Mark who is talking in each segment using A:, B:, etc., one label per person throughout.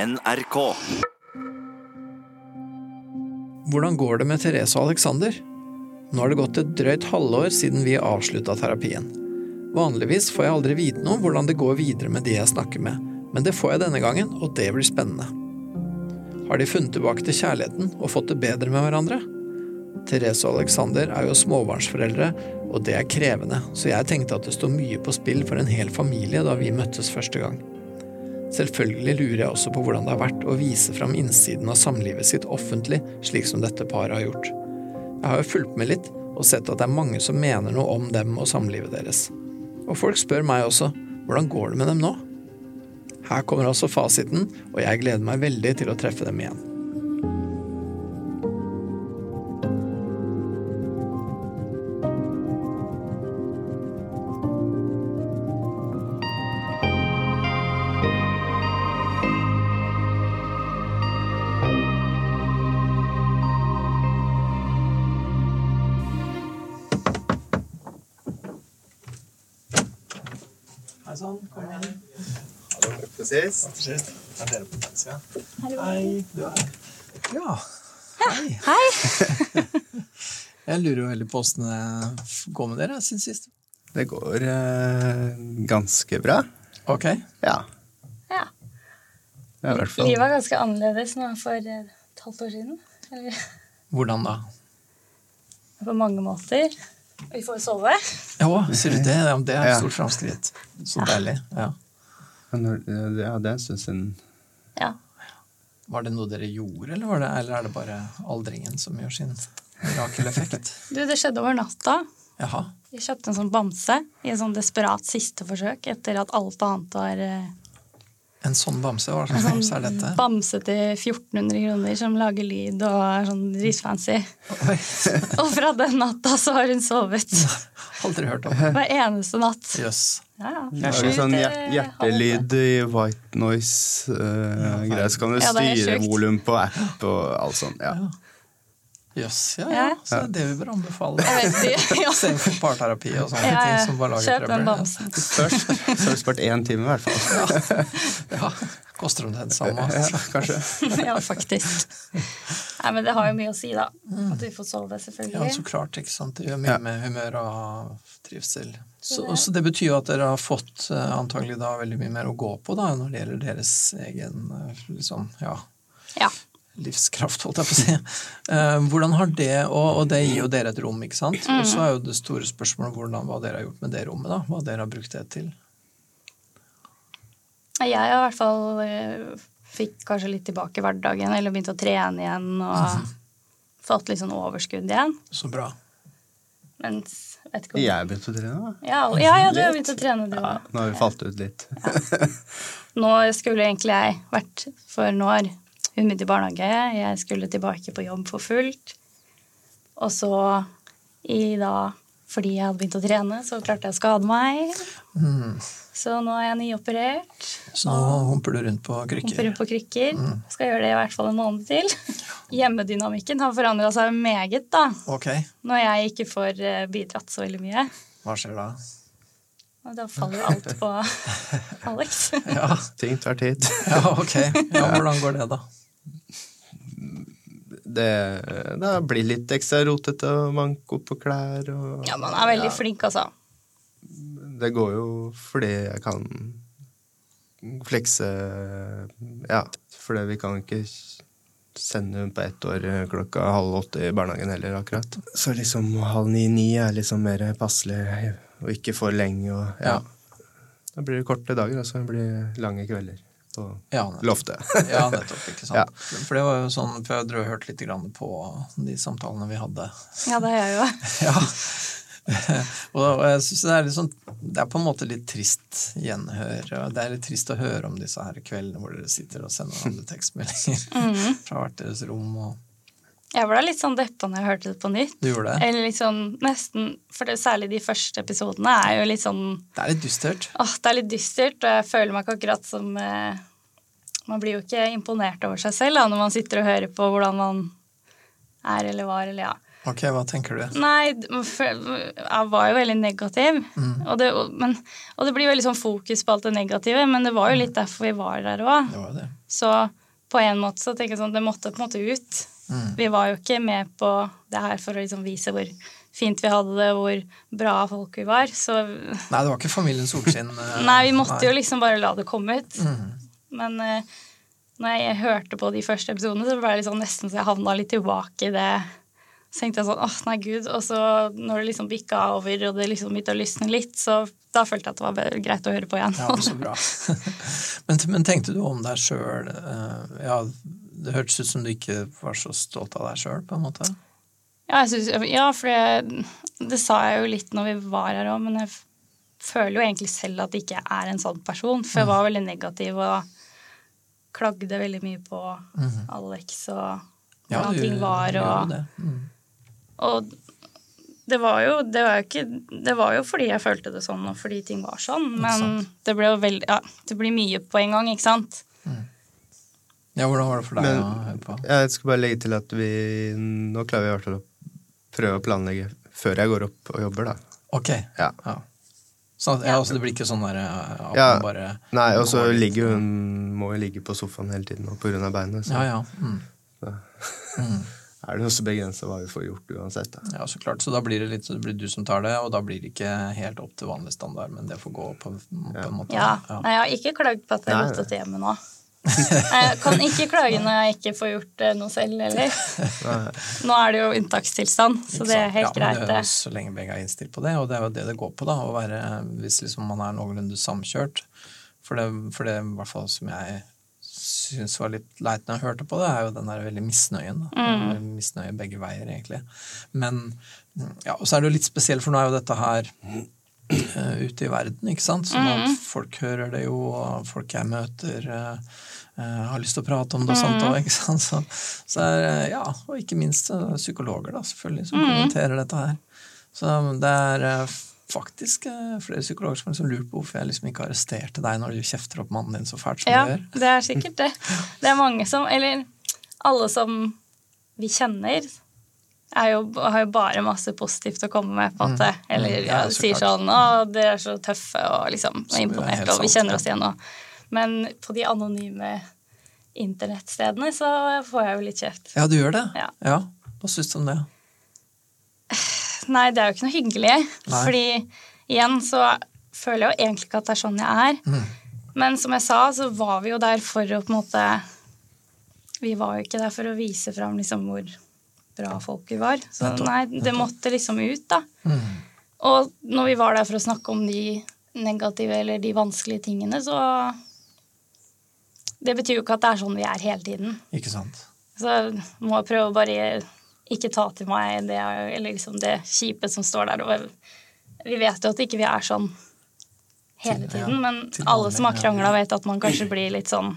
A: NRK.
B: Hvordan går det med Therese og Alexander? Nå har det gått et drøyt halvår siden vi avslutta terapien. Vanligvis får jeg aldri vite noe om hvordan det går videre med de jeg snakker med, men det får jeg denne gangen, og det blir spennende. Har de funnet tilbake til kjærligheten og fått det bedre med hverandre? Therese og Alexander er jo småbarnsforeldre, og det er krevende, så jeg tenkte at det sto mye på spill for en hel familie da vi møttes første gang. Selvfølgelig lurer jeg også på hvordan det har vært å vise fram innsiden av samlivet sitt offentlig, slik som dette paret har gjort. Jeg har jo fulgt med litt og sett at det er mange som mener noe om dem og samlivet deres. Og folk spør meg også hvordan går det med dem nå? Her kommer altså fasiten, og jeg gleder meg veldig til å treffe dem igjen. Hei sann, sånn, kom igjen.
C: Precis.
B: Sist. Er dere på plass, ja?
D: Hallo.
B: Hei, du er her. Ja. Hei.
D: Hei.
B: Jeg lurer jo veldig på åssen det går med dere siden sist.
C: Det går eh, ganske bra.
B: Ok.
C: Ja.
D: Ja.
C: Det er i hvert fall
D: Livet er ganske annerledes nå enn for eh, et halvt år siden. Eller
B: Hvordan da?
D: på mange måter. Vi får sove.
B: Ja, sier du det? Ja, men Det er et
C: Ja.
B: stort framskritt. Så deilig. Ja.
C: Men når- eh, Ja, det er en stund siden.
D: Ja.
B: Var det noe dere gjorde, eller, var det, eller er det bare aldringen som gjør sin mirakeleffekt?
D: Du, det skjedde over natta.
B: Jaha.
D: Jeg kjøpte en sånn bamse i en sånn desperat siste forsøk etter at alt annet var eh,
B: En sånn bamse? Hva
D: en
B: slags bamse er
D: sånn
B: dette?
D: bamse til 1400 kroner som lager lyd og er sånn dritfancy.
B: Oi,
D: Og fra den natta så har hun sovet.
B: aldri hørt om.
D: Hver eneste natt.
B: Jøss.
D: Ja,
C: Det er
D: ja.
C: jo sånn
D: Sju til
C: hjer-
D: halv åtte.
C: hjertelyd i white noise-greier. så kan du
D: Ja, det er
C: styre
D: sjukt.
C: volum på app og alt sånt. Ja.
B: Jøss, ja ja. Så det er det vi bør anbefale.
D: Jeg vet ikke. ja.
B: Istedenfor parterapi og sånne
D: Ja,
B: ting
D: ja.
B: som bare lager
D: Kjøp den
B: trøbbel.
D: bamsen.
C: Først så har du spart én time, i hvert fall.
B: Ja, Koster omtrent det samme.
C: Ja,
B: altså.
C: kanskje.
D: ja, faktisk. Nei, men det har jo mye å si, da. At vi får sove, selvfølgelig.
B: Mm. Ja, så klart. ikke sant? Det gjør mye
C: Ja.
B: med humør og trivsel. Så, så det betyr jo at dere har fått eh, antagelig da veldig mye mer å gå på da, når det gjelder deres egen eh, liksom, ja,
D: ja.
B: livskraft, holdt jeg på å si. Eh, Hvordan har det, og, og det gir jo dere et rom, ikke sant?
D: Mm.
B: Og så er jo det store spørsmålet hvordan, hva dere har gjort med det rommet, da. Hva dere har brukt det til.
D: Jeg har i hvert fall eh, fikk kanskje litt tilbake hverdagen, eller begynt å trene igjen
B: Mm.
D: og fått litt sånn overskudd igjen.
B: Så bra.
D: Mens vet ikke om
C: Jeg begynte å trene, da.
D: ja, og- ja, ja, du har begynt å trene, du òg.
C: Nå har vi falt ut litt.
D: Nå skulle egentlig jeg vært For nå har hun begynt i barnehage, jeg skulle tilbake på jobb for fullt. Og så i da fordi jeg hadde begynt å trene, så klarte jeg å skade meg. Så nå er jeg nyoperert.
B: Mm. Så nå Mm. humper du rundt på krykker.
D: Hopper rundt på krykker. Skal gjøre det i hvert fall en måned til. Hjemmedynamikken har forandra seg meget, da.
B: Ok,
D: Når jeg ikke får eh, bidratt så veldig mye.
B: hva skjer da?
D: Og da faller jo alt på Alex.
B: Ja,
C: Ting tar tid.
B: ja ok. Ja, hvordan går det, da?
C: Det, det blir litt ekstra rotete og manko på klær og
D: Ja, man er veldig flink, altså.
C: Det går jo fordi jeg kan flekse Ja, fordi vi kan ikke sende hun på ett år klokka halv åtte i barnehagen heller, akkurat. Så liksom halv ni-ni er liksom mer passelig, og ikke for lenge og Ja.
B: Ja.
C: Da blir det korte dager, og så blir det lange kvelder på
B: Ja, nettopp.
C: loftet.
B: Ja, nettopp. ikke sant?
C: Ja.
B: For det var jo sånn, for jeg drev og hørte litt grann på de samtalene vi hadde.
D: Ja, det er jeg jo.
B: Ja. og og jeg synes det er litt sånn Det er på en måte litt trist gjenhør. og Det er litt trist å høre om disse her kveldene hvor dere sitter og sender alle tekstmeldinger fra hvert deres rom. og
D: Jeg ble litt sånn deppa når jeg hørte det på nytt.
B: Du gjorde det?
D: Eller litt sånn nesten For det, særlig de første episodene er jo litt sånn
B: Det er litt dystert.
D: Åh, det er litt dystert, og jeg føler meg ikke akkurat som eh, Man blir jo ikke imponert over seg selv da, når man sitter og hører på hvordan man er eller var, eller ja.
B: Ok, hva tenker du?
D: Nei, d- for jeg var jo veldig negativ. Og, det, og- men, og det blir veldig sånn fokus på alt det negative, men det var jo litt derfor vi var der òg.
B: Det var jo det.
D: Så på en måte så tenker jeg sånn, det måtte på en måte ut.
B: Mm.
D: Vi var jo ikke med på det her for å liksom vise hvor fint vi hadde det, hvor bra folk vi var. Så
B: Nei, det var ikke familien Solskinn. eh,
D: nei, vi måtte jo liksom bare la det komme ut.
B: Mm.
D: Men eh, når jeg hørte på de første episodene, så ble det liksom nesten så jeg havna litt tilbake i det. Så tenkte jeg sånn, åh, nei, gud. Og så når det liksom bikka over, og det liksom begynte å lysne litt, så da følte jeg at det var be- greit å høre på igjen.
B: Ja, men så bra. men, men tenkte du om deg sjøl eh, Ja, det hørtes ut som du ikke var så stolt av deg sjøl, på en måte.
D: Ja, jeg synes, ja for det, det sa jeg jo litt når vi var her òg, men jeg f- føler jo egentlig selv at jeg ikke er en sånn person. For
B: Mm.
D: jeg var veldig negativ og klagde veldig mye på Alex og hvordan
B: Mm-hmm. du
D: ting var.
B: gjorde
D: Og
B: det. Mm.
D: og det var, jo, det, var jo ikke, det var jo fordi jeg følte det sånn, og fordi ting var sånn. Men
B: sant.
D: det ble jo veldig Ja, det blir mye på en gang, ikke sant?
B: Ja, hvordan var det for deg
C: Men-
B: å høre på?
C: Jeg skal bare legge til at vi Nå klarer vi i hvert fall å prøve å planlegge før jeg går opp og jobber, da.
B: Ok.
C: Ja.
B: Ja. Sånn at, ja, altså det blir ikke sånn der eh, at
C: Ja.
B: man bare
C: Nei, og så
B: går litt-
C: ligger hun Må jo ligge på sofaen hele tiden og på grunn av beinet. Så
B: Ja, ja. Mm.
C: er det også begrensa hva vi får gjort uansett, da.
B: ja, så klart. Så da blir det litt så det blir du som tar det, og da blir det ikke helt opp til vanlig standard, men det får gå på, på en måte.
D: Ja. Nei, jeg har ikke klagd på at jeg har
C: Nei,
D: gått til hjemme nå. Jeg kan ikke klage når jeg ikke får gjort eh, noe selv heller. Nå er det jo unntakstilstand, så
B: Ikke
D: det er
B: sant? ja,
D: helt
B: men
D: greit.
B: Det
D: det.
B: er jo så lenge begge er innstilt på det, og det er jo det det går på, da, å være, hvis liksom man er noenlunde samkjørt. For det, for det i hvert fall som jeg syns var litt leit når jeg hørte på det, er jo den der veldig misnøyen. Da.
D: Mm.
B: Misnøye begge veier, egentlig. Men ja, Og så er det jo litt spesielt, for nå er jo dette her eh, ute i verden, ikke sant. Sånn at
D: Mm.
B: folk hører det jo, og folk jeg møter eh, eh, har lyst til å prate om det og
D: Mm.
B: sånt òg, ikke sant. Så, så er, eh, ja, og ikke minst eh, psykologer, da, selvfølgelig,
D: Mm.
B: som kommenterer dette her. Så det er eh, faktisk eh, flere psykologer som har liksom lurt på hvorfor jeg liksom ikke arresterte deg når du kjefter opp mannen din så fælt som
D: Ja,
B: du gjør.
D: det er sikkert det. Det er mange som Eller alle som vi kjenner, er jo, har jo bare masse positivt å komme med. på en måte. Eller
B: Mm,
D: ja,
B: ja, så
D: sier
B: klart.
D: sånn 'Å, dere er så tøffe og liksom
B: Så
D: og
B: det er helt
D: imponerte, og vi
B: sant,
D: kjenner
B: ja.
D: oss igjen nå'. Men på de anonyme internettstedene så får jeg jo litt kjeft.
B: Ja, du gjør det?
D: Ja.
B: Hva syns du om det?
D: Nei, det er jo ikke noe hyggelig.
B: Nei.
D: Fordi igjen så føler jeg jo egentlig ikke at det er sånn jeg er.
B: Mm.
D: Men som jeg sa, så var vi jo der for å på en måte Vi var jo ikke der for å vise fram liksom hvor bra folk vi var. Så
B: Nettopp,
D: nei, det måtte liksom ut, da. Og når vi var der for å snakke om de negative eller de vanskelige tingene, så Det betyr jo ikke at det er sånn vi er hele tiden.
B: Ikke sant?
D: Så jeg må jeg prøve å bare ikke ta til meg det, eller liksom det kjipe som står der. Og vi vet jo at ikke vi er sånn hele
B: Til- ja,
D: tiden, men
B: til
D: alle
B: vanlig,
D: som har
B: ja.
D: krangla, vet at man kanskje blir litt sånn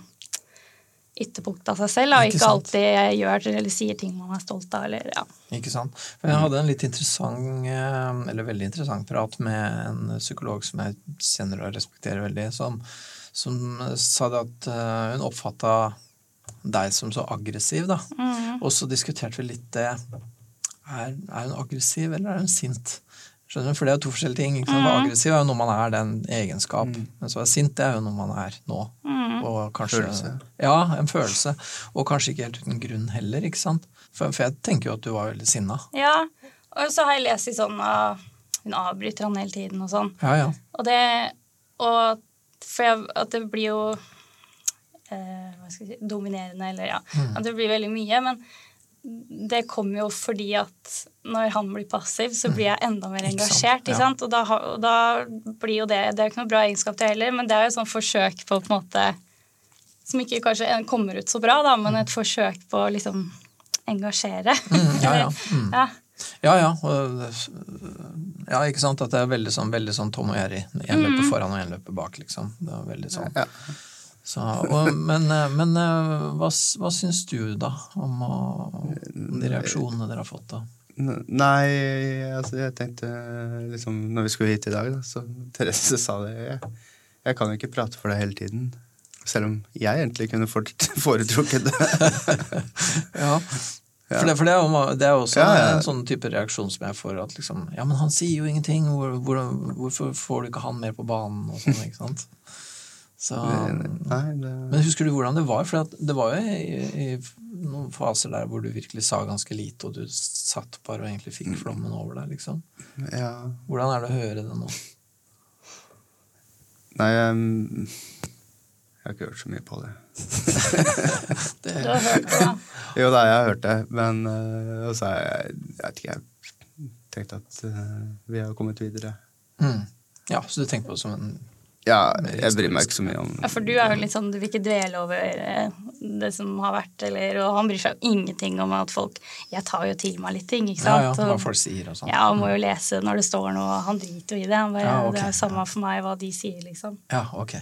D: ytterpunkt av seg selv, og
B: Ikke
D: ikke
B: sant.
D: alltid gjør eller sier ting man er stolt av, eller ja.
B: Ikke sant? For jeg hadde en litt interessant, eh, eller veldig interessant prat med en psykolog som jeg kjenner og respekterer veldig, som, som sa det at eh, hun oppfatta deg som så aggressiv, da. Og så diskuterte vi litt det. Er, er hun aggressiv, eller er hun sint? Skjønner du? For det er jo to forskjellige ting. Ikke sant? For Aggressiv er jo når man er den egenskap, men så er sint det er jo når man er nå.
D: Mm.
B: Og kanskje,
C: Følelse.
B: Ja, en følelse. Og kanskje ikke helt uten grunn heller, ikke sant. For, for jeg tenker jo at du var veldig sinna.
D: Ja, og så har jeg lest i sånn ah, Hun avbryter han hele tiden og sånn.
B: Ja, ja.
D: Og det og For jeg, at det blir jo eh, hva skal jeg si, dominerende, eller ja.
B: Mm.
D: At det blir veldig mye. Men det kommer jo fordi at når han blir passiv, så blir jeg enda mer
B: Ikke
D: engasjert.
B: sant, ja.
D: Ikke sant? Og, da, har- og da blir jo det Det er jo ikke noe bra egenskap, det heller, men det er jo et sånt forsøk på på en måte Som ikke kanskje kommer ut så bra, da, men et forsøk på å liksom engasjere.
B: Mm. ja, ja. Mm.
D: ja.
B: Ja, ja. Og, ja, ikke sant. At det er veldig sånn, veldig sånn Tom og Jerry. Én løper foran og én løper bak, liksom. Det er veldig sånn.
C: Ja.
B: Så, og, men eh, men eh, hva, s- hva syns du, da, om, å- om de reaksjonene dere har fått, da?
C: N- Nei, altså jeg tenkte liksom Når vi skulle hit i dag, da, så Therese sa det. Jeg, jeg kan jo ikke prate for deg hele tiden. Selv om jeg egentlig kunne fort- foretrukket det.
B: Ja, For, det, for det, er jo, det er jo også
C: Ja, ja.
B: en sånn type reaksjon som jeg får. At liksom, ja, men han sier jo ingenting. Hvor, hvordan- hvorfor får du ikke han mer på banen? Og sånn, ikke sant? Så,
C: Nei, det
B: men husker du hvordan det var? For at det var jo i, i noen faser der hvor du virkelig sa ganske lite, og du satt bare og egentlig
C: Mm.
B: fikk flommen over deg. liksom.
C: Ja.
B: Hvordan er det å høre det nå?
C: Nei, jeg, jeg har ikke hørt så mye på det.
B: Det,
D: Du har hørt på det.
C: Jo da, jeg har hørt det, men øh, Og så har jeg Jeg vet ikke, jeg tenkte at øh, vi har kommet videre.
B: mm. Ja, så du tenker på det som en
C: Ja, jeg bryr meg ikke så mye om
D: Ja, for du er jo litt sånn, du vil ikke dvele over eh, det som har vært, eller, og han bryr seg jo ingenting om at folk Jeg tar jo til meg litt ting, ikke
B: Ja, ja,
D: sant?
B: hva
D: Og-
B: folk sier og sånn.
D: ja, han må jo lese når det står noe, og han driter jo i det. Han bare,
B: Ja, ok.
D: Det er jo samme for meg hva de sier, liksom.
B: Ja, ok.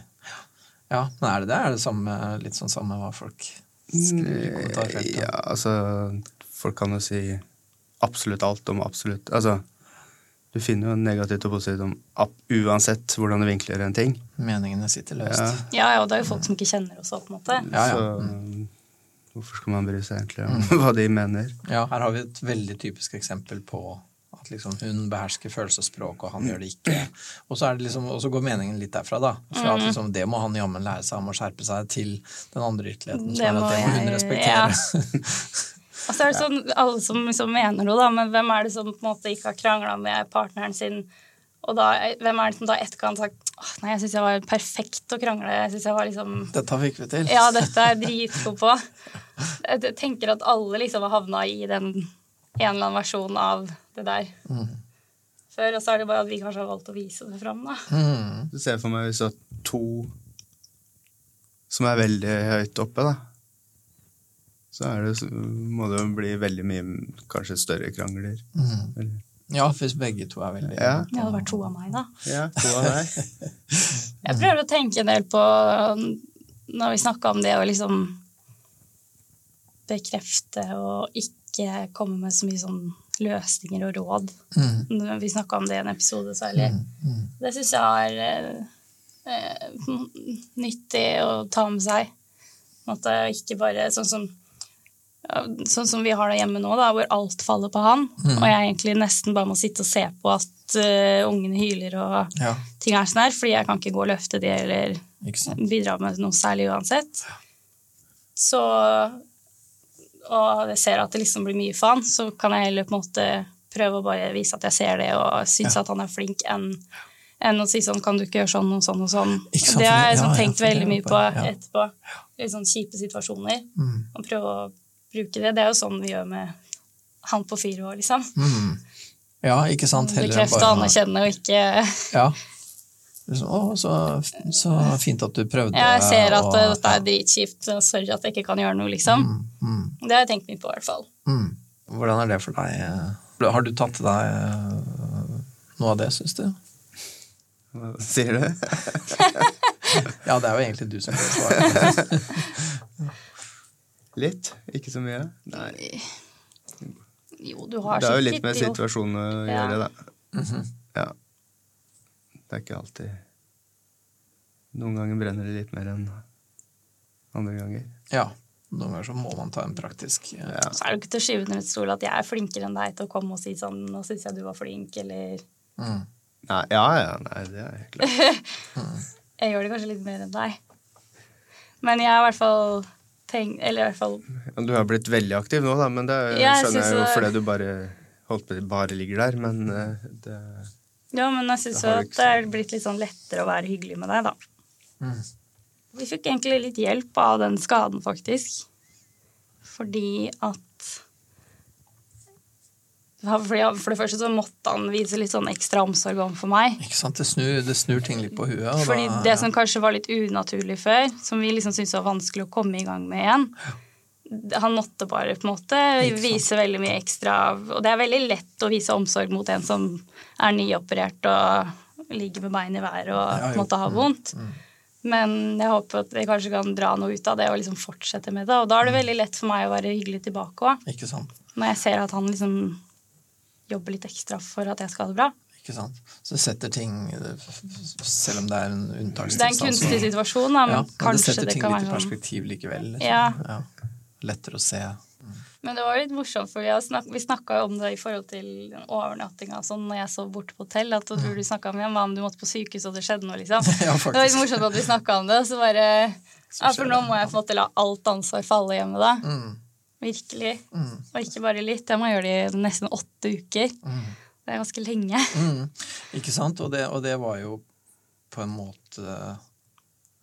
B: Ja, men er det det? Er det samme, litt sånn samme hva folk skriver i kommentarfeltet?
C: Ja, altså Folk kan jo si absolutt alt om absolutt Altså, du finner jo negativt og positivt om ab- uansett hvordan du vinkler en ting.
B: Meningene sitter løst.
D: Ja, ja, og det er jo folk som ikke kjenner oss, på en måte.
B: Ja, ja.
C: Så Mm. hvorfor skal man bry seg egentlig om hva de mener?
B: Ja. her har vi et veldig typisk eksempel på at liksom hun behersker følelse og språk, og han gjør det ikke. Og så, er det liksom, og så går meningen litt derfra, da. Fra
D: Mm.
B: at liksom, det må han jammen lære seg, han må skjerpe seg, til den andre ytterligheten.
D: Det
B: Som er
D: må
B: at det må hun
D: jeg-
B: respektere.
D: Og så er det sånn, alle som liksom mener noe, da, men hvem er det som på en måte ikke har krangla med partneren sin? Og da, eh, hvem er det som da etterpå har sagt åh, nei, jeg syns jeg var perfekt å krangle, jeg syns jeg var liksom
B: Dette fikk vi til.
D: Ja, dette er jeg dritgod på. Jeg tenker at alle liksom har havna i den en eller annen versjon av det der før. Og så er det bare at vi kanskje har valgt å vise det fram, da.
B: Mm.
C: Du ser for meg hvis du har to som er veldig høyt oppe, da. Så, er det, så må det jo bli veldig mye kanskje større krangler.
B: Mm.
C: Eller-
B: Ja, hvis begge to er veldig
C: Ja.
D: Det hadde vært to av meg, da.
C: Ja, to av deg.
D: Jeg prøver å tenke en del på um, når vi snakka om det å liksom bekrefte og ikke komme med så mye sånn løsninger og råd.
B: Mm.
D: Når vi snakka om det i en episode særlig. Det syns jeg er eh, eh, nyttig å ta med seg. På en måte ikke bare sånn som ja, Sånn som vi har det hjemme nå, da, hvor alt faller på han. Og jeg egentlig nesten bare må sitte og se på at eh, ungene hyler og
B: Ja,
D: ting er sånn her, fordi jeg kan ikke gå og løfte det eller
B: ikke sant.
D: bidra med noe særlig uansett. Så Og jeg ser at det liksom blir mye for han, så kan jeg heller på en måte prøve å bare vise at jeg ser det og synes at han er flink, enn enn å si sånn Kan du ikke gjøre sånn og sånn og sånn?
B: Ikke sant,
D: Det har jeg
B: for-
D: sånn,
B: ja, ja,
D: tenkt
B: for det er
D: veldig mye
B: jo
D: på
B: bare- ja.
D: etterpå. Litt sånn kjipe situasjoner.
B: Mm.
D: Og prøve å bruke det. Det er jo sånn vi gjør med han på fire år, liksom.
B: Mm. Ja, ikke sant. Heller enn
D: Bekrefte,
B: bare-
D: anerkjenne og ikke
B: Ja. Liksom, å, så, så fint at du prøvde.
D: Jeg ser at
B: og-
D: eh, dette er dritkjipt. og Sorry at jeg ikke kan gjøre noe, liksom.
B: Mm, mm,
D: Det har jeg tenkt mye på, i hvert fall.
B: mm. Hvordan er det for deg? eh? Har du tatt til deg eh, noe av det, syns du?
C: Hva sier du?
B: Ja, det er jo egentlig du som bør svare.
C: Litt? Ikke så mye? Nei.
D: Jo, du har
C: det er jo
D: sikkert
C: litt med
D: jo.
C: situasjonen å
D: Ja.
C: gjøre, da.
B: Mhm.
C: Ja. Det er ikke alltid Noen ganger brenner det litt mer enn andre ganger.
B: Ja. Noen ganger så må man ta en praktisk eh,
C: Ja.
D: Så er det jo ikke til å skyve under et stol at jeg er flinkere enn deg til å komme og si sånn 'Nå syns jeg du var flink', eller
B: mm.
C: Nei, ja, ja, nei, det er helt klart.
D: Jeg gjør det kanskje litt mer enn deg. Men jeg har i hvert fall tenkt Eller i hvert fall
C: Ja, Du har blitt veldig aktiv nå, da, men det er-
D: Ja, jeg
C: skjønner
D: synes
C: jeg jo
D: det-
C: fordi du bare holdt på bare ligger der, men eh, det
D: Ja, men jeg
C: Det
D: syns jo
C: har du
D: at
C: ikke
D: det er blitt litt sånn lettere å være hyggelig med deg, da.
B: mm.
D: Vi fikk egentlig litt hjelp av den skaden, faktisk. Fordi at Ja, fordi han- For det første så måtte han vise litt sånn ekstra omsorg overfor meg.
B: Ikke sant? Det snur, det snur ting litt på huet. og
D: Fordi
B: da-
D: det som kanskje var litt unaturlig før, som vi liksom syntes var vanskelig å komme i gang med igjen, han måtte bare på en måte
B: sant.
D: vise veldig mye ekstra Og det er veldig lett å vise omsorg mot en som er nyoperert og ligger med bein i været og
B: Ja, Mm,
D: på en
B: jo.
D: måte har vondt. Men jeg håper at jeg kanskje kan dra noe ut av det og liksom fortsette med det. Og da er
B: Mm.
D: det veldig lett for meg å være hyggelig tilbake òg,
B: Ikke sant?
D: når jeg ser at han liksom jobber litt ekstra for at jeg skal ha det bra.
B: Ikke sant? Så det setter ting eh, Selv om det er en
D: Det er en
B: unntakstilstand. så-
D: kunstig situasjon, da, men
B: Ja, men det
D: kanskje
B: setter
D: det sånn.
B: ting
D: kan
B: litt i
D: være noe
B: perspektiv likevel. Liksom.
D: Ja.
B: Lettere å se.
D: Men det var litt morsomt, for vi snakka jo om det i forhold til overnattinga sånn når jeg sov borte på hotell. At da tror du snakka med hva om du måtte på sykehus og det skjedde noe, liksom.
B: Ja,
D: Det var litt
B: faktisk.
D: morsomt at vi snakka om det, og så bare Ja, for
B: skjer
D: nå
B: det.
D: må jeg på en måte la alt ansvar falle hjemme, da.
B: Mm,
D: Virkelig.
B: mm,
D: Og ikke bare litt. Jeg må gjøre det i nesten åtte uker.
B: mm.
D: Det er ganske lenge.
B: Mm. Ikke sant? Og det, og det var jo på en måte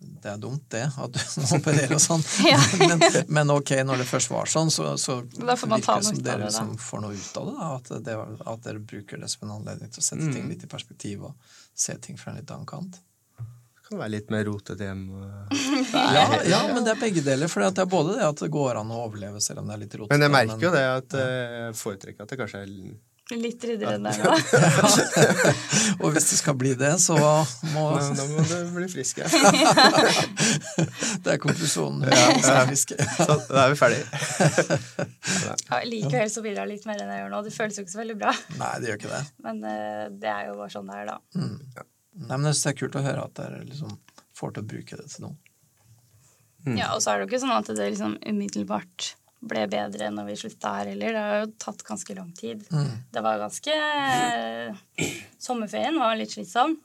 B: Det er dumt, det, at du opererer og sånn.
D: Ja.
B: Men, men ok, når det først var sånn, så, så
D: Da får man ta
B: det
D: noe
B: som
D: ut av
B: dere
D: det, da.
B: som får noe ut av det. Da, at, det var- at dere bruker det som en anledning til å sette ting
C: Mm.
B: litt i perspektiv og se ting fra en litt annen kant.
C: Det kan være litt mer rotete hjemme.
B: Ja, ja, men det er begge deler. For det er både det at det går an å overleve selv om det er litt rotete.
C: Men jeg merker jo det at eh, jeg foretrekker at det kanskje er l-
D: Blir Litt ryddigere enn det er nå.
B: Og hvis det skal bli det, så må
C: Nå nå må du bli frisk. Ja.
B: Det er konklusjonen.
C: ja.
B: Fiske.
C: Sånn, da er vi ferdige.
D: Ja, likevel så vil jeg litt mer enn jeg gjør nå. Det føles jo ikke så veldig bra.
B: Nei, det gjør ikke det.
D: Men eh, det er jo bare sånn det er, da.
B: Mm. Nei, men jeg synes det er kult å høre at dere liksom får til å bruke det til noe.
C: Mm.
D: Ja, Og så er det jo ikke sånn at det liksom umiddelbart ble bedre når vi slutta her heller. Det har jo tatt ganske lang tid. Det var ganske eh, Sommerferien var litt slitsom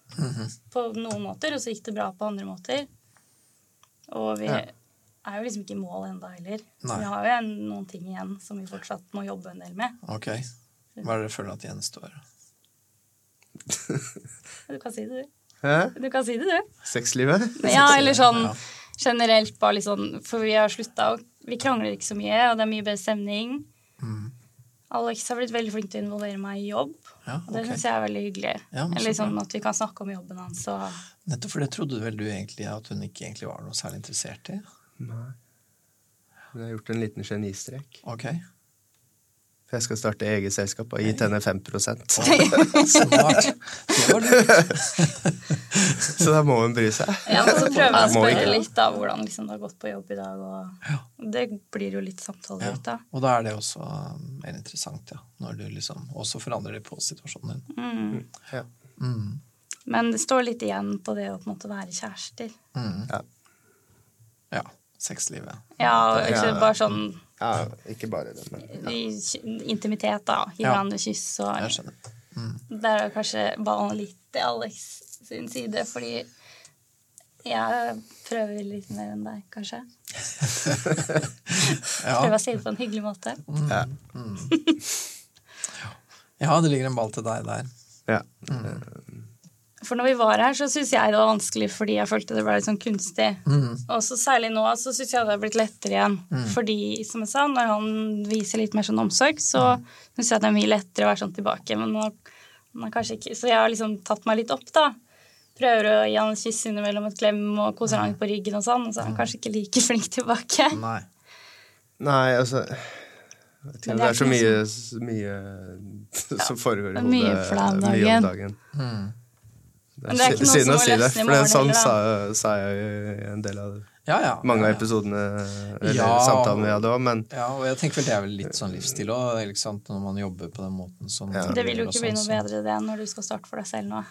D: på noen måter, og så gikk det bra på andre måter. Og vi
C: Ja.
D: er jo liksom ikke i mål enda heller.
B: Nei.
D: Vi har jo en, noen ting igjen som vi fortsatt må jobbe en del med.
B: Ok. Hva er det dere føler at gjenstår?
D: Du kan si det, du.
C: Hæ?
D: Du kan si det, du.
C: Sexlivet?
D: Ja, eller sånn
B: Ja.
D: generelt bare litt sånn For vi har slutta, og vi krangler ikke så mye, og det er mye bedre stemning.
B: Mm.
D: Alex har blitt veldig flink til å involvere meg i jobb.
B: Ja,
D: Det
B: ok.
D: syns jeg er veldig hyggelig.
B: Ja, men så
D: eller sånn
B: bra.
D: at vi kan snakke om jobben hans og
B: Nettopp for det trodde vel du egentlig at hun ikke egentlig var noe særlig interessert i.
C: Nei. Men jeg har gjort en liten genistrek.
B: Ok.
C: For jeg skal starte eget selskap og gitt henne 5
B: Smart. Det var lurt.
C: Så da må hun bry seg.
D: Ja, men så prøver jeg å
C: Må
D: spørre
C: ikke.
D: litt da, hvordan liksom det har gått på jobb i dag. Og
B: Ja.
D: det blir jo litt samtale
B: Ja.
D: ut av.
B: Og da er det også um, mer interessant, ja. Når du liksom også forandrer det på situasjonen din.
D: Mm.
C: Ja.
B: Mm.
D: Men det står litt igjen på det å på en måte være kjærester.
B: Mm.
C: Ja.
B: Ja. Sexlivet.
D: Ja, og
C: Ja.
D: ikke bare sånn
C: ja, ikke bare det, men
D: i ky- intimitet, da. Gi
B: Ja.
D: hverandre kyss
B: Jeg
D: og
B: skjønner.
D: Der er kanskje ballen litt til Alex sin side, fordi jeg prøver litt mer enn deg, kanskje. Prøver
B: Ja.
D: å si det på en hyggelig måte.
C: ja.
B: ja, det ligger en ball til deg der.
C: ja.
D: For når vi var her, så syns jeg det var vanskelig fordi jeg følte det ble litt sånn kunstig.
C: Mm.
D: Og så særlig nå så syns jeg det har blitt lettere igjen. Fordi, som jeg sa, når han viser litt mer sånn omsorg, så
C: Mm.
D: syns jeg det er mye lettere å være sånn tilbake. Men nå, nå er kanskje ikke Så jeg har liksom tatt meg litt opp, da. Prøver å gi han et kyss innimellom et klem og koser han litt på ryggen og sånn. Og
C: Mm.
D: så er han kanskje ikke like flink tilbake.
B: Nei.
C: Nei, altså jeg vet ikke,
D: Men
C: Det er så
D: det
C: mye,
D: er liksom-
C: så mye som foregår i
D: det er
C: hodet
D: mye for deg
C: mye
D: om dagen.
C: om dagen. Det
D: Men
C: er,
D: det er ikke
C: sy- synd
D: noe som
C: å
D: må
C: si det,
D: løsne
C: for
D: i
C: det er
D: morgen
C: sånn sa,
D: heller,
C: sa jeg jo i en del av
B: Ja, ja.
C: mange
B: ja,
C: av
B: ja.
C: episodene eller
B: Ja.
C: samtalene vi hadde òg, men
B: Ja, og jeg tenker vel det er vel litt sånn livsstil òg, ikke sant, når man jobber på den måten som
C: Ja.
D: Det vil jo
B: og
D: ikke bli
B: sånn,
D: noe
B: så
D: bedre det når du skal starte for deg selv nå.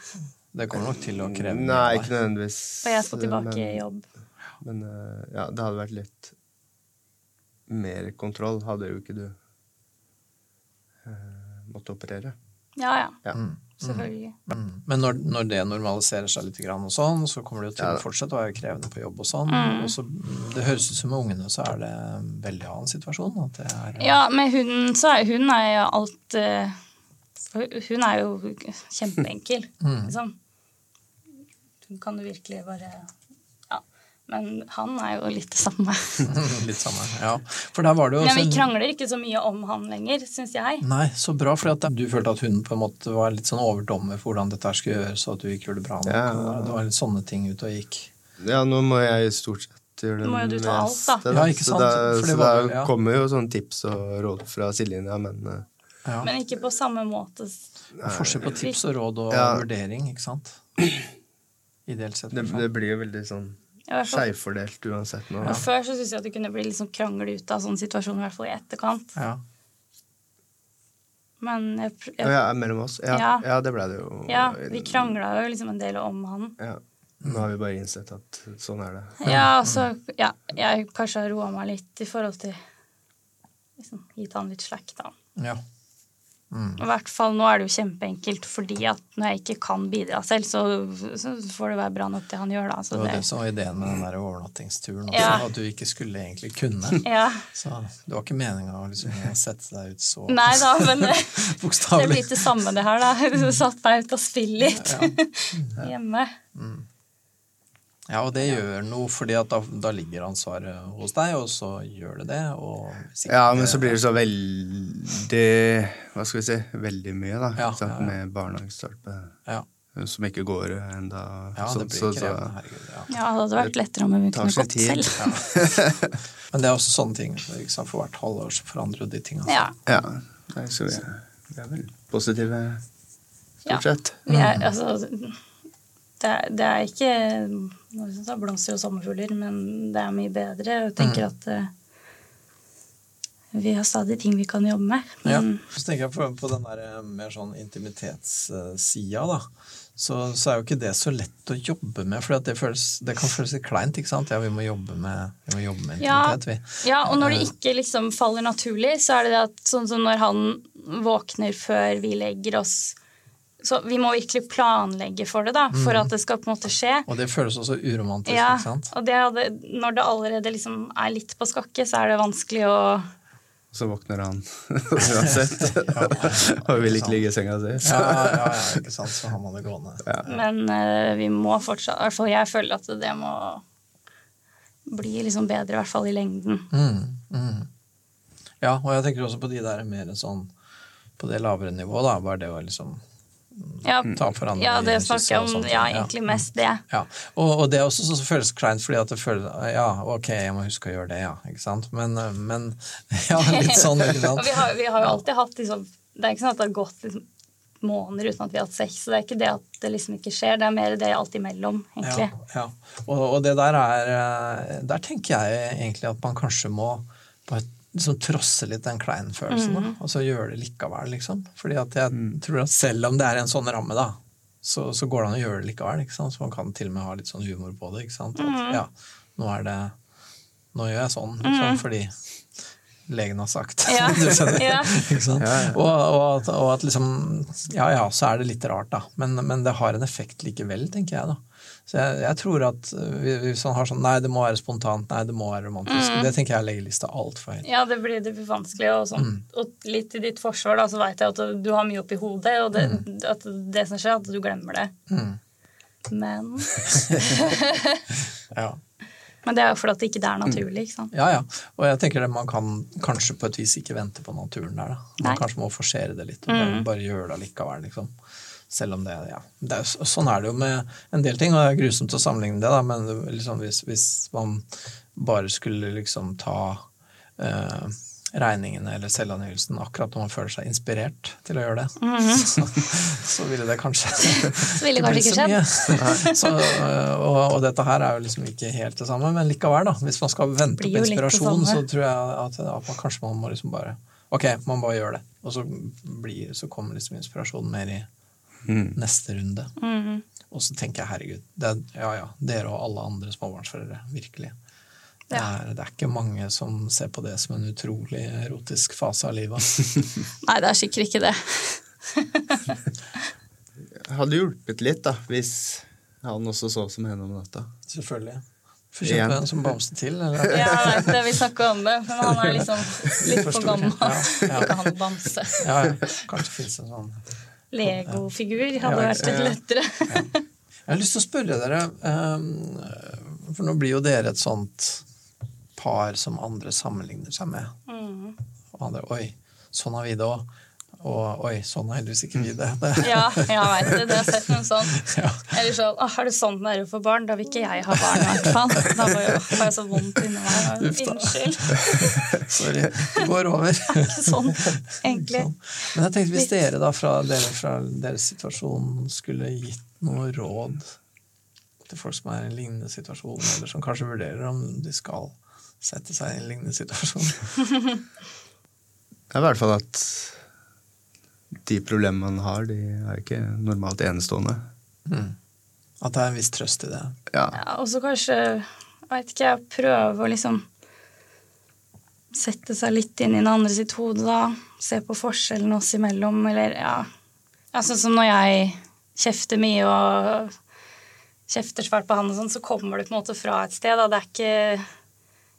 B: Det kommer nok til å kreve mye
C: Nei,
B: av
C: ikke
B: deg.
C: nødvendigvis.
D: For jeg skal tilbake i
C: men,
D: jobb.
C: Men eh, ja, det hadde vært litt mer kontroll hadde jo ikke du eh, måttet operere.
D: Ja ja,
C: Ja.
D: selvfølgelig.
B: Mm. Men når, når det normaliserer seg litt grann og sånn, så kommer det jo til
C: Ja da.
B: å fortsette å være krevende på jobb og sånn.
D: Mm.
B: Og så, det høres ut som med ungene så er det en veldig annen situasjon. At det er
D: Ja, med hunden så er hun er jo alt eh, Hun er jo kjempeenkel, liksom. Hun kan jo virkelig bare Ja. Men han er jo litt det samme.
B: litt samme. Ja. For der var det jo
D: Men vi
B: sånn-
D: krangler ikke så mye om han lenger, syns jeg.
B: Nei, så bra, for at du følte at hun på en måte var litt sånn overdommer for hvordan dette her skulle gjøres, og at du ikke gjorde det bra nok.
C: Ja.
B: og Det var litt sånne ting ute og gikk.
C: Ja, nå må jeg stort sett gjøre det
D: Nå må jo du ta alt, da.
C: meste,
B: Ja, ikke sant?
C: Så da,
B: For det
C: så da
B: var vel- ja.
C: kommer jo sånne tips og råd fra Siljen, ja, men eh,
B: Ja.
D: Men ikke på samme måte.
B: Og Forskjell på tips og råd og
C: Ja.
B: vurdering, ikke sant? Ideelt sett. i
C: det,
B: hvert fall.
C: det blir jo veldig sånn
D: I hvert fall.
C: skjevfordelt uansett nå.
D: Og Før så syns jeg at det kunne bli litt sånn krangel ut av sånne situasjoner, i hvert fall i etterkant.
B: Ja.
D: Men jeg, pr-
C: Å
D: jeg,
C: ja, mellom oss? Ja, ja.
D: Ja.
C: det ble det jo.
D: ja, vi krangla jo liksom en del om han.
C: Ja. Nå har vi bare innsett at sånn er det.
D: Ja, altså, ja, jeg kanskje har roa meg litt i forhold til liksom, gitt han litt slack, da.
B: Ja. Mm.
D: I hvert fall nå er det jo kjempeenkelt, fordi at når jeg ikke kan bidra selv, så, så får det være bra nok det han gjør, da.
B: Det
D: Så
B: var det
D: det,
B: som var ideen med den der overnattingsturen også,
D: Ja.
B: at du ikke skulle egentlig kunne.
D: ja.
B: Så det var ikke meninga å liksom sette deg ut så
D: Nei da, men det, det
B: bokstavelig.
D: blir det samme det her, da. Du satt meg ut og spill litt hjemme.
B: Ja, og det gjør noe, fordi at da, da ligger ansvaret hos deg, og så gjør det det. Og hvis ikke-
C: Ja, men så blir det så veldig Hva skal vi si? Veldig mye, da.
B: Ja,
C: ikke sant?
B: ja, ja.
C: Med barnehagestolpe eh,
B: ja.
C: som ikke går enda.
B: ja,
C: så-
B: det blir
C: så- så-
B: krevende. Herregud. Ja.
D: Ja, det hadde vært lettere om jeg
C: tar
D: kunne
C: seg
D: gått
C: tid.
D: selv.
B: Men det er også sånne ting. Ikke sant? For hvert halvår så forandrer jo de altså. tinga seg.
D: Ja.
C: Ja. Nei, så vi er, vi er vel positive,
D: Ja.
C: stort sett.
D: Vi er,
B: Mm.
D: altså, det, er, det er ikke nå synes jeg det er blomster og sommerfugler, men det er mye bedre. Jeg tenker
B: Mm.
D: at eh, vi har stadig ting vi kan jobbe med.
B: Ja.
D: Men
B: Så tenker jeg på, på den der eh, mer sånn intimitetssida, da. Så, så er jo ikke det så lett å jobbe med, for det, føles, det kan føles litt kleint. ikke sant? Ja, vi må jobbe med, vi må jobbe med
D: Ja.
B: intimitet, vi.
D: ja, og når det ikke liksom faller naturlig, så er det det at sånn som når han våkner før vi legger oss Så vi må virkelig planlegge for det, da, for at det skal på en måte skje.
B: Og Mm. det føles også uromantisk,
D: Ja,
B: ikke sant?
D: og det, hadde- når det allerede liksom er litt på skakke, så er det vanskelig å
C: Så våkner han uansett. Og vil ikke ligge i senga si.
B: Ja, ja, ja, ikke sant? Så har man det gående.
D: Men eh, vi må fortsatt I hvert fall jeg føler at det må bli liksom bedre, i hvert fall i lengden.
B: Mm, mm. Ja, og jeg tenker også på de der mer sånn på det lavere nivået, da. Bare det å liksom
D: Ja,
B: Mm. ta for andre
D: ja
B: i
D: det
B: kysset
D: snakker
B: og
D: jeg om.
B: sånne ting,
D: Ja,
B: ja.
D: egentlig mest det.
B: Ja, og, og det er også sånn som føles kleint, fordi at det føles Ja, ok, jeg må huske å gjøre det, ja. Ikke sant? Men, eh, men Ja, litt sånn, ikke
D: Og vi
B: sant?
D: har, vi har jo alltid hatt liksom Det er ikke sånn at det har gått liksom, måneder uten at vi har hatt sex. Så det er ikke det at det liksom ikke skjer, det er mer det alt imellom,
B: Ja,
D: egentlig.
B: ja. Og, og det der er eh, Der tenker jeg egentlig at man kanskje må bare liksom trosse litt den kleine følelsen, da,
D: Mm.
B: og så gjøre det likevel, liksom. Fordi at jeg tror at selv om det er en sånn ramme, da, så, så går det an å gjøre det likevel, ikke sant. Så man kan til og med ha litt sånn humor på det, ikke sant.
D: Mm.
B: At, ja, nå er det Nå gjør jeg sånn, liksom, fordi legen har sagt.
D: Mm. Ja.
B: du skjønner.
D: Ja.
B: Ikke sant? Og, og, at, og at liksom Ja ja, så er det litt rart, da. Men, men det har en effekt likevel, tenker jeg, da. Så jeg, jeg tror at vi- hvis man har sånn Nei, det må være spontant. Nei, det må være romantisk. Det tenker jeg legger lista altfor høyt.
D: Ja, det blir, det blir vanskelig. Og, sånn.
B: Mm.
D: og litt i ditt forsvar, da, så veit jeg at du har mye oppi hodet, og det, at det som skjer, at du glemmer det.
B: Mm.
D: Men,
B: Ja.
D: men det er jo fordi at det ikke er naturlig, ikke sant.
B: ja ja. Og jeg tenker det, man kan kanskje på et vis ikke vente på naturen der, da. Man
D: Nei.
B: kanskje må forsere det litt. og Bare, bare gjøre det allikevel, liksom. Selv om det Ja. Det er, jo- sånn er det jo med en del ting, og det er grusomt å sammenligne det, da, men det- liksom hvis, hvis man bare skulle liksom ta eh, regningene eller selvangivelsen akkurat når man føler seg inspirert til å gjøre det, så, så ville det kanskje
D: Så ville det kanskje ikke skjedd.
B: skjedd. Så, eh, og, og dette her er jo liksom ikke helt det samme, men likevel, da. Hvis man skal vente
D: Blir
B: på
D: jo litt det
B: inspirasjon, så
D: samme.
B: tror jeg at, at man kanskje man må liksom bare Ok, man bare gjør det. Og så, blir, så kommer liksom inspirasjonen mer i neste runde.
D: Mhm.
B: Og så tenker jeg herregud, det er, ja ja, dere og alle andre småbarnsforeldre, virkelig. Det,
D: Ja.
B: er, det er ikke mange som ser på det som en utrolig erotisk fase av livet.
D: Nei, det er sikkert ikke det.
C: Hadde hjulpet litt, da, hvis han også sov som henne om natta.
B: Selvfølgelig. Får kjøpe
C: Igjen.
B: en som bamse til, eller?
D: Ja, jeg vet det, vi snakker om det, men han er liksom litt for
B: Forstår.
D: gammel.
B: Ja, ja.
D: Ikke han bamse.
B: Ja, ja. Kanskje finnes en sånn
D: Legofigur
B: Ja,
D: hadde vært litt
B: ja.
D: lettere.
B: Jeg har lyst til å spørre dere, eh, for nå blir jo dere et sånt par som andre sammenligner seg med.
D: Mhm.
B: Og andre, oi, sånn har vi det òg. Og oi, sånn har heldigvis ikke vi det. det.
D: Mm. Ja, jeg veit det. Det har sett noen sånn.
B: Ja.
D: Eller sånn Å, har du sånn nerve for barn? Da vil ikke jeg ha barn, i hvert fall. Da var jo- har jeg så vondt inni meg.
B: Uff da.
D: Unnskyld.
B: Sorry, det går over.
D: Ikke sånn, egentlig.
B: Sånn. Men jeg tenkte hvis dere da fra, dere, fra deres situasjon skulle gitt noe råd til folk som er i en lignende situasjon, eller som kanskje vurderer om de skal sette seg i en lignende situasjon.
C: Det er i hvert fall at de problemene man har, de er ikke normalt enestående.
B: Mm. At det er en viss trøst i det.
C: Ja.
D: Ja, og så kanskje, jeg vet ikke, jeg prøver å liksom sette seg litt inn i den andre sitt hode, da. Se på forskjellen oss imellom, eller ja. ja sånn som når jeg kjefter mye og kjefter svært på han og sånn, så kommer du på en måte fra et sted. Da. Det er ikke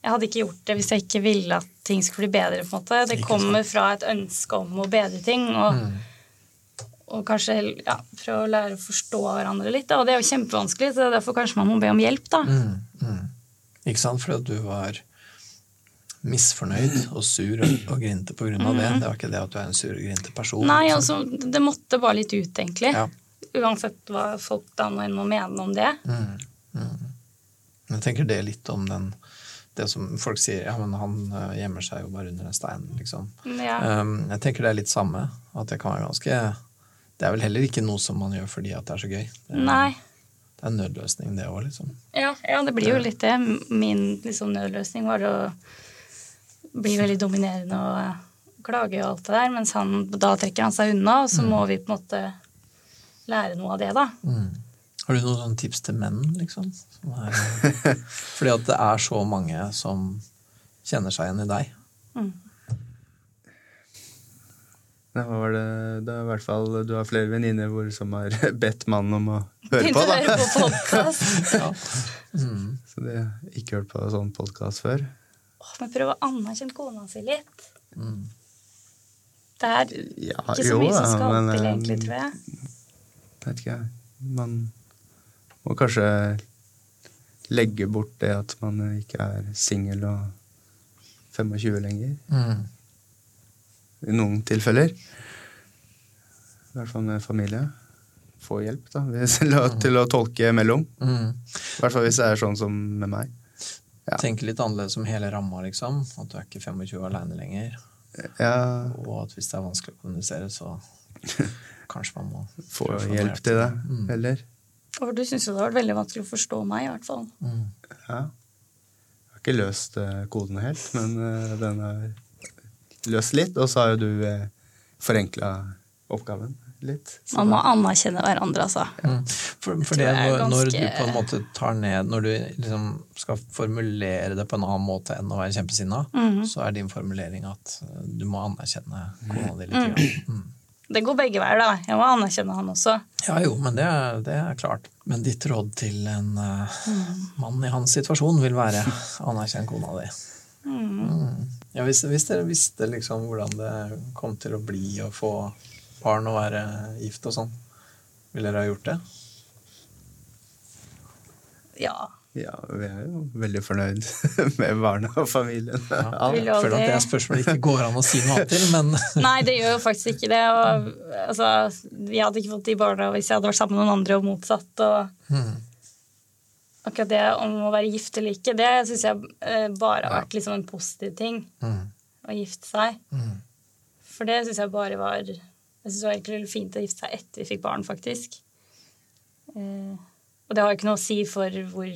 D: Jeg hadde ikke gjort det hvis jeg ikke ville at ting skulle bli bedre, på en måte. Det
C: Ikke
D: kommer fra et ønske om å bedre ting, og,
B: Mm.
D: og kanskje ja, prøve å lære å forstå hverandre litt. Da. Og det er jo kjempevanskelig, så det er derfor kanskje man må be om hjelp, da.
B: Mm. Ikke sant? Fordi at du var misfornøyd og sur og, og grinte på grunn av det. Det var ikke det at du er en sur og grinte person.
D: Mm. Nei,
B: ikke sant?
D: altså, det måtte bare litt ut, egentlig.
B: Ja.
D: Uansett hva folk da nå enn må mene om det.
B: Mm, Men Jeg tenker det litt om den det som folk sier ja, men han eh, gjemmer seg jo bare under en stein, liksom.
D: Men Ja.
B: Um, jeg tenker det er litt samme. At det kan være ganske Det er vel heller ikke noe som man gjør fordi at det er så gøy. Det er,
D: Nei.
B: det er en nødløsning, det òg, liksom.
D: Ja, ja, det blir jo litt det. Min liksom, nødløsning var å bli veldig dominerende og eh, klage og alt det der, mens han, da trekker han seg unna, og så
C: Mm.
D: må vi på en måte lære noe av det, da.
B: Mm. Har du noen sånne tips til menn, liksom? Som er, fordi at det er så mange som kjenner seg igjen i deg.
D: Mm.
C: Det var det, det er i hvert fall, du har flere venninner hvor som har bedt mannen om å høre på.
D: Begynte å
C: da.
D: høre på podcast.
B: Ja. Mm.
C: Så de har ikke hørt på sånn podkast før.
D: Åh, Men prøv å anerkjenne kona si litt.
B: Mm.
D: Det er
C: Ja,
D: ikke så
C: jo,
D: mye som
C: ja,
D: skal
C: men,
D: til,
C: eh,
D: egentlig, tror jeg.
C: Vet ikke, jeg. man må kanskje legge bort det at man eh, ikke er singel og 25 lenger.
B: Mm.
C: I noen tilfeller. I hvert fall med familie. Få hjelp, da. Hvis, la- til å tolke imellom.
B: Mm.
C: I hvert fall hvis det er sånn som med meg. Ja.
B: Tenke litt annerledes om hele ramma, liksom. At du er ikke 25 aleine lenger.
C: Jeg
B: Og at hvis det er vanskelig å kommunisere, så kanskje man må
C: får sånn
B: prøve å få noe
C: hjelp Mm. til det, eller?
D: Og du syns jo det har vært veldig vanskelig å forstå meg, i hvert fall.
B: Mm.
C: Ja. Jeg har ikke løst eh, koden helt, men eh, den er løst litt. Og så har jo du eh, forenkla oppgaven litt. Så
D: Man må anerkjenne hverandre, altså.
B: Mm. For, for
D: tror
B: det,
D: jeg er
B: når, når du
D: ganske-
B: på en måte tar ned Når du liksom skal formulere det på en annen måte enn å være kjempesinna,
D: Mhm.
B: så er din formulering at eh, du må anerkjenne kona di litt. grann. Mm.
D: Det går begge veier, da. Jeg må anerkjenne han også.
B: Ja jo, men det er, det er klart. Men ditt råd til en eh,
D: Mm.
B: mann i hans situasjon vil være anerkjenn kona di. Mm. Ja, hvis, hvis dere visste liksom hvordan det kom til å bli å få barn og være gift og sånn, ville dere ha gjort det?
D: Ja.
C: ja, vi er jo veldig fornøyd med barna og familien.
B: Ja,
D: Vil
B: jeg
D: du
B: føler at
D: aldri-
B: det spørsmålet ikke går an å si noe annet til, men
D: Nei, det gjør jo faktisk ikke det. Og, altså, jeg hadde ikke fått de barna hvis jeg hadde vært sammen med noen andre, og motsatt. Og akkurat det om å være gift eller ikke, det syns jeg eh, bare har vært liksom en positiv ting. Å gifte seg. For det syns jeg bare var Jeg syns det var egentlig veldig fint å gifte seg etter vi fikk barn, faktisk. Eh, og det har jo ikke noe å si for hvor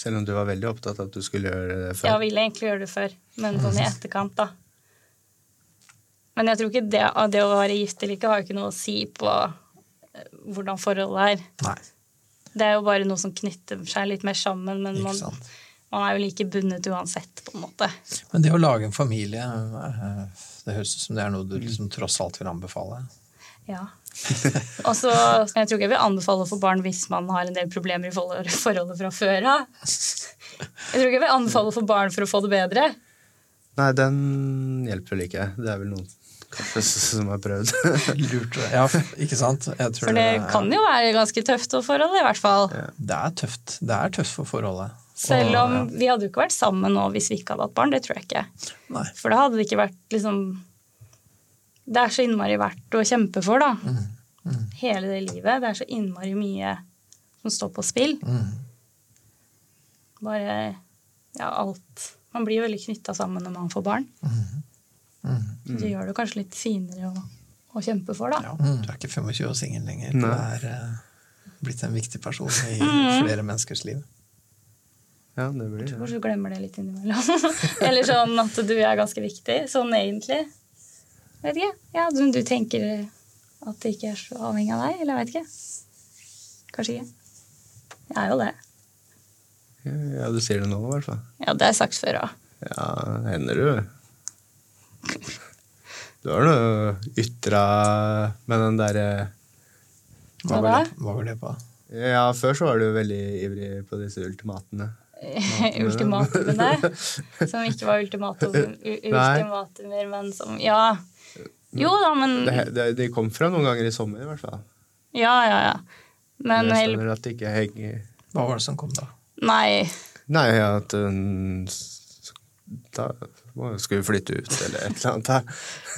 C: Selv om du var veldig opptatt av at du skulle gjøre det
D: Jeg
C: før.
D: ville egentlig gjøre det før, men sånn i etterkant, da. Men jeg tror ikke det, det å være gift eller ikke har jo ikke noe å si på eh, hvordan forholdet er.
B: Nei.
D: Det er jo bare noe som knytter seg litt mer sammen, men
B: Ikke
D: man,
B: sant.
D: man er jo like bundet uansett, på en måte.
B: Men det å lage en familie, eh, det høres ut som det er noe du liksom tross alt vil anbefale.
D: Ja. Og så Jeg tror ikke jeg vil anbefale å få barn hvis man har en del problemer i forhold- forholdet fra før av. Jeg tror ikke jeg vil anbefale å få barn for å få det bedre.
C: Nei, den hjelper vel ikke. Det er vel noen kanskje som har prøvd.
B: Lurt. Ja, ikke sant? Jeg tror
D: For det kan jo være ganske tøft å forholde, i hvert fall.
B: Det er tøft. Det er tøft for forholdet.
D: Selv
B: Og-
D: om vi hadde jo ikke vært sammen nå hvis vi ikke hadde hatt barn, det tror jeg ikke.
B: Nei.
D: For da hadde det ikke vært liksom Det er så innmari verdt å kjempe for, da. Hele det livet. Det er så innmari mye som står på spill. Bare ja, alt. Man blir jo veldig knytta sammen når man får barn. Så Det gjør det kanskje litt finere å, å kjempe for, da.
B: Ja, du er ikke 25 og singel lenger. Du
C: Nei.
B: er eh, blitt en viktig person i
D: Mm.
B: flere menneskers liv.
C: Ja, det blir det.
D: Kanskje du glemmer det litt innimellom. Eller sånn at du er ganske viktig. Sånn egentlig. Vet ikke. Ja, du, du tenker at det ikke er så avhengig av deg, eller jeg vet ikke. Kanskje ikke. Jeg er jo det.
C: Ja, du sier det nå, i hvert fall.
D: Ja, det har jeg sagt før òg.
C: Ja, det hender jo. Du har noe ytra med den derre
D: Hva da?
B: Hva var det på?
C: eh, Ja, før så var du veldig ivrig på disse ultimatene.
D: ultimatumene. Som ikke var ultimatum, u-
C: Nei.
D: ultimatumer, men som Ja. Jo da, men
C: Det, det, de kom fra noen ganger i sommer, i hvert fall.
D: Ja, ja, ja. Men
C: jeg
D: hel-
C: skjønner at det ikke henger
B: Hva var det som kom da?
D: Nei.
C: Nei, at um, s- da må jo skulle flytte ut, eller et eller annet.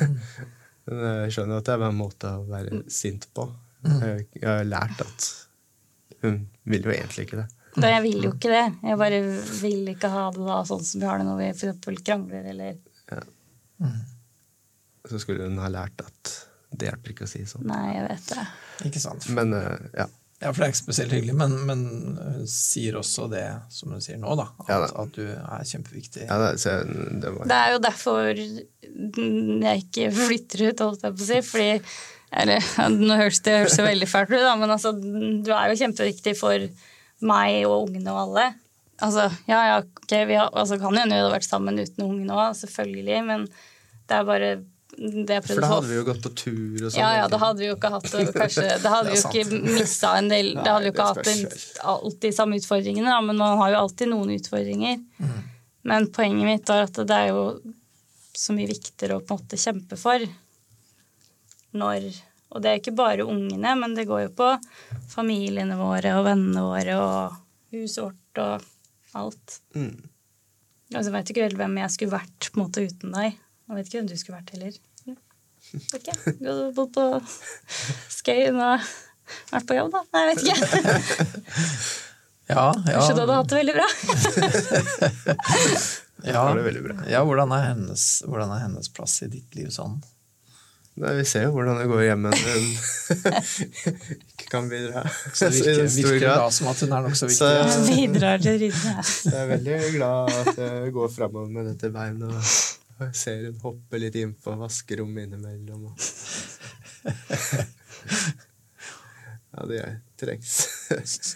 C: her. Men jeg skjønner at det er bare en måte å være sint på.
D: Mm.
C: Jeg, jeg har lært at hun vil jo egentlig ikke det.
D: Da jeg vil jo ikke det. Jeg bare vil ikke ha det da sånn som vi har det når vi f.eks. krangler eller
C: Så skulle hun ha lært at det hjelper ikke å si sånn.
D: Nei, jeg vet det.
B: Ikke sant?
C: Men eh, ja.
B: Ja, for det er ikke spesielt hyggelig, men, men hun sier også det som hun sier nå, da. At,
C: Ja, da.
B: at du er kjempeviktig.
C: ja det, så, jeg- det var
D: Det er jo derfor jeg ikke flytter ut, holdt jeg på å si. Fordi eller, Nå høres det høres jo veldig fælt ut, da, men altså, du er jo kjempeviktig for meg og ungene og alle. Altså, ja, ja, ok, vi har, altså, kan hende vi hadde vært sammen uten ungene òg, selvfølgelig, men det er bare det jeg
C: For
D: prøvde
C: da
D: å
C: hadde vi jo gått på tur og sånn.
D: Ja, ja, da hadde vi jo ikke hatt det, kanskje, da hadde vi jo
B: Det er
D: ikke mista en del Da hadde vi jo ikke
C: Nei,
D: hatt
C: det
D: en,
C: skal
D: alltid de samme utfordringene, da, men man har jo alltid noen utfordringer.
C: Mm.
D: Men poenget mitt var at det er jo så mye viktigere å på en måte kjempe for når Og det er ikke bare ungene, men det går jo på familiene våre og vennene våre og huset vårt og alt.
C: Mm.
D: Altså, jeg vet ikke helt hvem jeg skulle vært på en måte uten deg. Jeg vet ikke hvem du skulle vært heller. Ok, Du hadde bodd på Skøyen og vært på jobb, da. Nei, jeg vet ikke.
B: Ja, ja,
D: Kanskje du hadde hatt det veldig bra.
B: ja.
C: Det var veldig bra.
B: ja hvordan, er hennes, hvordan er hennes plass i ditt liv sånn?
C: Nei, vi ser jo hvordan det går hjemme når hun ikke kan bidra.
B: Så det
C: Så i
B: virker,
C: stor
B: virker
C: grad.
B: da som at hun er nokså viktig.
C: Så-
B: ja.
D: Bidrar til ryddene.
C: Så jeg er veldig glad at jeg går framover med dette beinet. og- Og jeg ser hun hoppe litt inn på vaskerommet innimellom. Og... Ja, det gjør- trengs.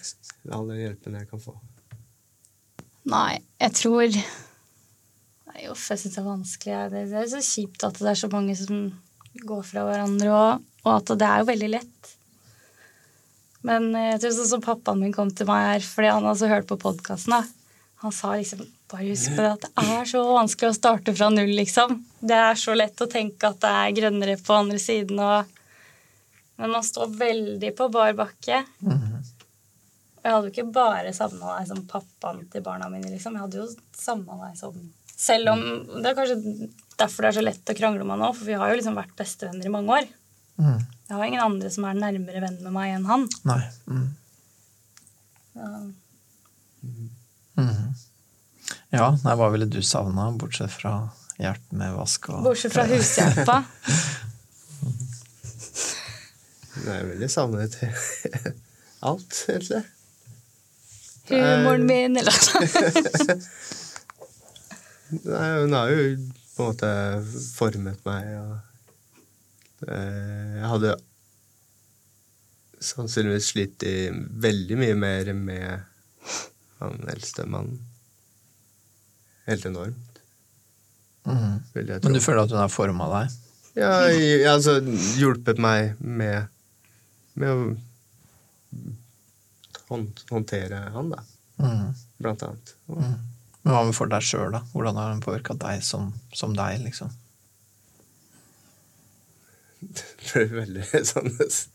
C: Det er All den hjelpen jeg kan få.
D: Nei, jeg tror Nei, uff, jeg syns det er vanskelig. jeg. Det det er så kjipt at det er så mange som går fra hverandre, og, og at det er jo veldig lett. Men eh, jeg tror sånn som pappaen min kom til meg her, fordi han altså hørte på podkasten, han sa liksom bare husk på det at det er så vanskelig å starte fra null, liksom. Det er så lett å tenke at det er grønnere på andre siden, og Men man står veldig på bar bakke. Og jeg hadde jo ikke bare savna deg som pappaen til barna mine, liksom. Jeg hadde jo savna deg som Selv om Det er kanskje derfor det er så lett å krangle om han nå, for vi har jo liksom vært bestevenner i mange år.
B: Mm.
D: Jeg har ingen andre som er nærmere venn med meg enn han.
B: Nei. Mm.
D: Ja.
B: Mhm. Ja, nei, hva ville du savna, bortsett fra hjelp med vask og
D: Bortsett fra hushjelpa.
C: Men jeg er veldig savnet til alt, egentlig.
D: Humoren min, eller noe
C: Nei, hun har jo på en måte formet meg, og eh, jeg hadde sannsynligvis slitt i veldig mye mer med han eldste mannen. Helt enormt,
B: Mhm.
C: vil jeg tro.
B: Men du føler at hun har forma deg?
C: Ja, i- altså hjulpet meg med, med å hånd, håndtere han, da,
B: Mhm.
C: blant annet. Og
D: Mm.
B: Mhm. Men hva med for deg sjøl, da? Hvordan har hun påvirka deg som, som deg, liksom?
C: Det ble veldig sånn s-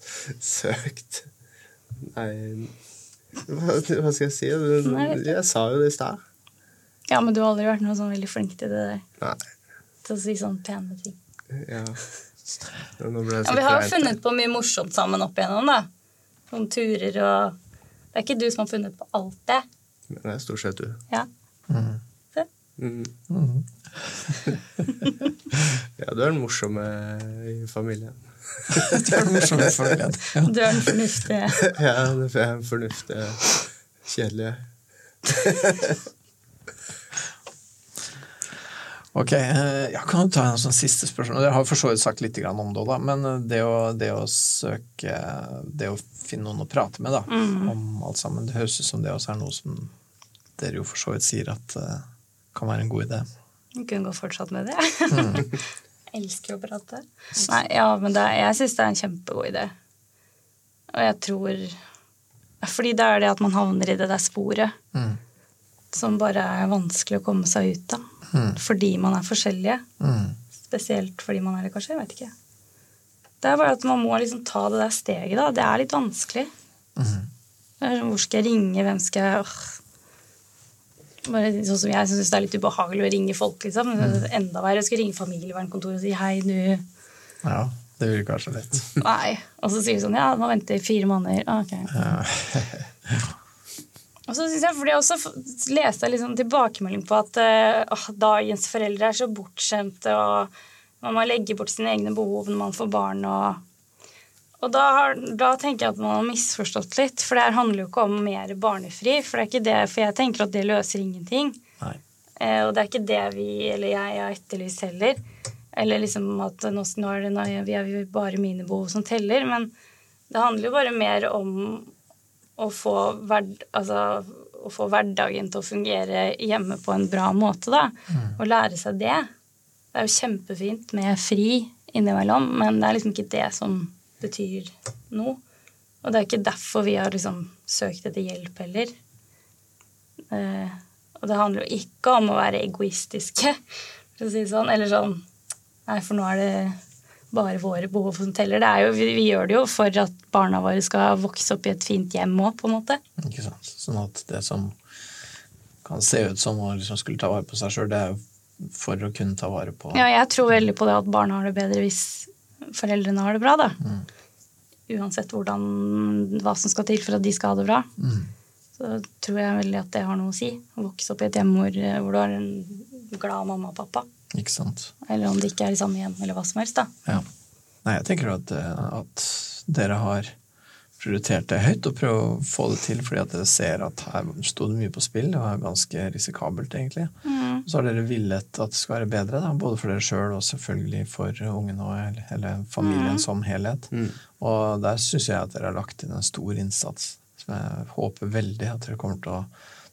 C: søkt. Nei hva, hva skal jeg si?
D: Nei, jeg vet ikke.
C: Jeg sa jo det i stad.
D: Ja, men du har aldri vært noe sånn veldig flink til det der.
C: Nei.
D: Til å si sånne pene ting.
C: Ja. Ja, Nå ble jeg
D: Ja,
C: så
D: vi har jo
C: klein.
D: funnet på mye morsomt sammen opp igjennom, da. Noen turer og Det er ikke du som har funnet på alt det.
C: Men det er stort sett du.
D: Ja.
B: Mhm.
C: Mm.
B: Mhm.
C: Ja, du er den morsomme i familien.
B: Det er det morsomme i familien. Ja.
D: Du er den fornuftige.
C: Ja, det er en fornuftig kjedelige.
B: Ok, eh, jeg kan jo ta en sånn siste spørsmål. Dere har for så vidt sagt litt grann om det, da, men eh, det å, det å søke Det å finne noen å prate med da, om alt sammen, det høres ut som det også er noe som dere jo for så vidt sier at eh, kan være en god idé.
D: Du kunne gå fortsatt med det.
A: Elsker å prate.
D: Mm. Nei, ja, men det, er- jeg syns det er en kjempegod idé. Og jeg tror Fordi det er det at man havner i det der sporet
B: Mm.
D: som bare er vanskelig å komme seg ut av.
B: Mm.
D: Fordi man er forskjellige.
B: Mm.
D: Spesielt fordi man er det, kanskje. Jeg vet ikke. Det er bare at man må liksom ta det der steget, da. Det er litt vanskelig.
B: Mhm.
D: Det er sånn, Hvor skal jeg ringe? Hvem skal jeg Åh. Bare sånn som jeg syns det er litt ubehagelig å ringe folk, liksom. Enda verre. Jeg skulle ringe familievernkontoret og si hei, du
B: Ja, det vil kanskje litt.
D: Nei. Og så sier de sånn ja, nå venter jeg fire måneder. Ah, ok. og så synes jeg, fordi jeg også f- leste jeg liksom tilbakemelding på at eh, «Åh, dagens foreldre er så bortskjemte, og man må legge bort sine egne behov når man får barn. og... Og da, har, da tenker jeg at man har misforstått litt, for det her handler jo ikke om mer barnefri. For det er ikke det, for jeg tenker at det løser ingenting.
B: Nei.
D: Eh, og det er ikke det vi, eller jeg, har etterlyst heller. Eller liksom at nå, nå er det nå, er vi er jo bare mine behov som teller. Men det handler jo bare mer om å få, hverd, altså, å få hverdagen til å fungere hjemme på en bra måte, da. Og lære seg det. Det er jo kjempefint med fri innimellom, men det er liksom ikke det som betyr noe. Og det er ikke derfor vi har liksom søkt etter hjelp heller. Eh, og det handler jo ikke om å være egoistiske, for å si det sånn. Eller sånn Nei, for nå er det bare våre behov som teller. Det er jo, vi, vi gjør det jo for at barna våre skal vokse opp i et fint hjem òg, på en måte.
B: Ikke sant? Sånn at det som kan se ut som å liksom skulle ta vare på seg sjøl, det er jo for å kunne ta vare på
D: Ja, jeg tror veldig på det at barna har det bedre hvis foreldrene har det bra, da. Mm. Uansett hvordan, hva som skal til for at de skal ha det bra.
B: Mm.
D: Så tror jeg veldig at det har noe å si. Å vokse opp i et hjem hvor, hvor du har en glad mamma og pappa.
B: Ikke sant?
D: Eller om det ikke er i samme hjem, eller hva som helst, da.
B: Ja. Nei, jeg tenker at, eh, at dere har prioritert det høyt og prøver å få det til fordi at dere ser at her sto det mye på spill. Det var ganske risikabelt, egentlig.
D: Mm.
B: Så har dere villet at det skal være bedre, da, både for dere sjøl og selvfølgelig for ungen og eller- eller familien som helhet. Og der syns jeg at dere har lagt inn en stor innsats. Som jeg håper veldig at dere kommer til å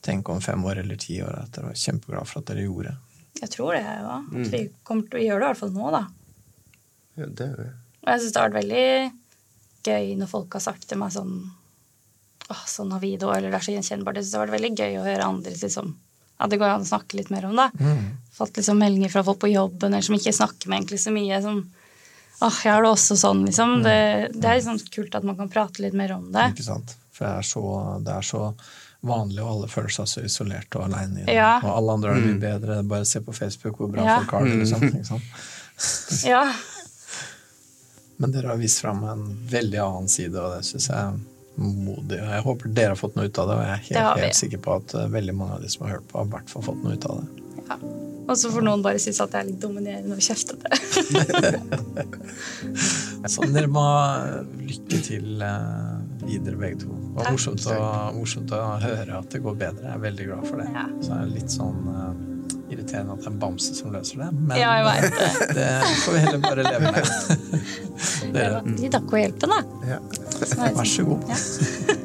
B: tenke om fem år eller ti år at dere var kjempeglad for at dere gjorde.
D: Jeg tror det, ja. At vi kommer til å gjøre det i hvert fall nå, da.
C: Ja, det er det.
D: Og jeg syns det har vært veldig gøy når folk har sagt til meg sånn Åh, sånn har vi det òg, eller det er så gjenkjennbart. Jeg syns det har vært veldig gøy å høre andres liksom At det går an å snakke litt mer om det. Fått liksom meldinger fra folk på jobben eller som ikke snakker med egentlig så mye. Som Åh, jeg har det også sånn, liksom. Det, det er liksom kult at man kan prate litt mer om det.
B: Ikke sant? For det er så, det er så vanlig, og alle føler seg så isolerte og aleine.
D: Ja.
B: Og alle andre har det mye bedre. Bare se på Facebook hvor bra
D: Ja.
B: folk har det. Liksom, ikke sant?
D: Ja.
B: Men dere har vist fram en veldig annen side, og det syns jeg er modig. Og jeg håper dere har fått noe ut av det, og jeg er
D: Det har
B: helt,
D: vi.
B: helt sikker på at eh, veldig mange av de som har hørt på, har i hvert fall fått noe ut av det.
D: ja. Og så får noen bare synes at jeg er litt dominerende og kjeftete.
B: Så dere må eh, lykke til eh, videre, begge to. Det var morsomt å, morsomt å høre at det går bedre. Jeg er veldig glad for det.
D: Ja.
B: Så er det litt sånn eh, irriterende at det er en bamse som løser det, men
D: Ja, jeg vet det.
B: det får vi heller bare leve med.
D: Jeg
B: dere,
D: var- Takk for hjelpen, da.
C: Ja.
D: Så er det
B: vær så god.
D: Ja.